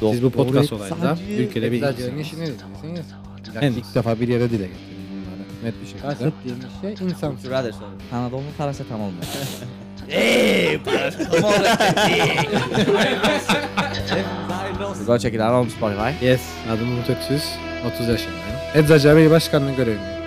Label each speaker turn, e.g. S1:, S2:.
S1: Siz bu podcast olayında
S2: sadece
S1: ülkede bir
S3: Eczacıların
S1: insanız.
S3: işini izliyorsunuz.
S1: En-
S2: İlk defa bir yere dile getirdim bunları. Net bir şekilde.
S3: Kastettiğim şey insan.
S4: Brother sorry.
S5: Anadolu parasetam olmuyor. Go check it out on Spotify.
S1: Yes.
S2: Adım Umut Öksüz, 30 yaşındayım. Eczacı Bey Başkanlığı görevliyim.